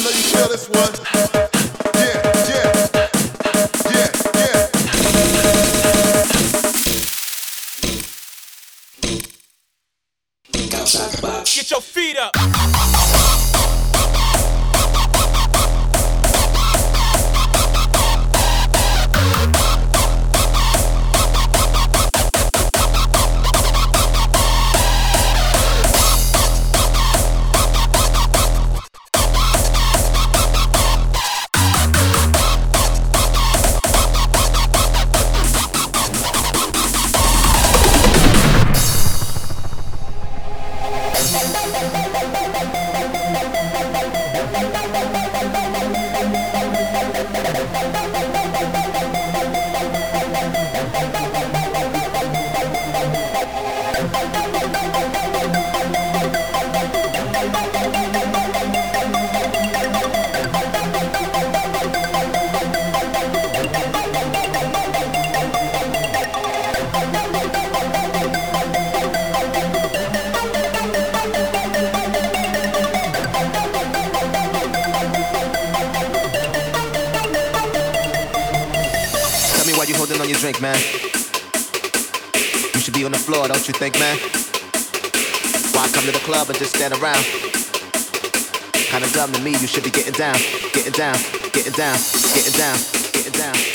know you feel this one. Yeah, yeah, yeah, yeah. Get your feet up. Tell me why you holding on your drink, man. You should be on the floor, don't you think, man? Why come to the club and just stand around? Kinda dumb to me, you should be getting down, getting down, getting down, getting down, getting down.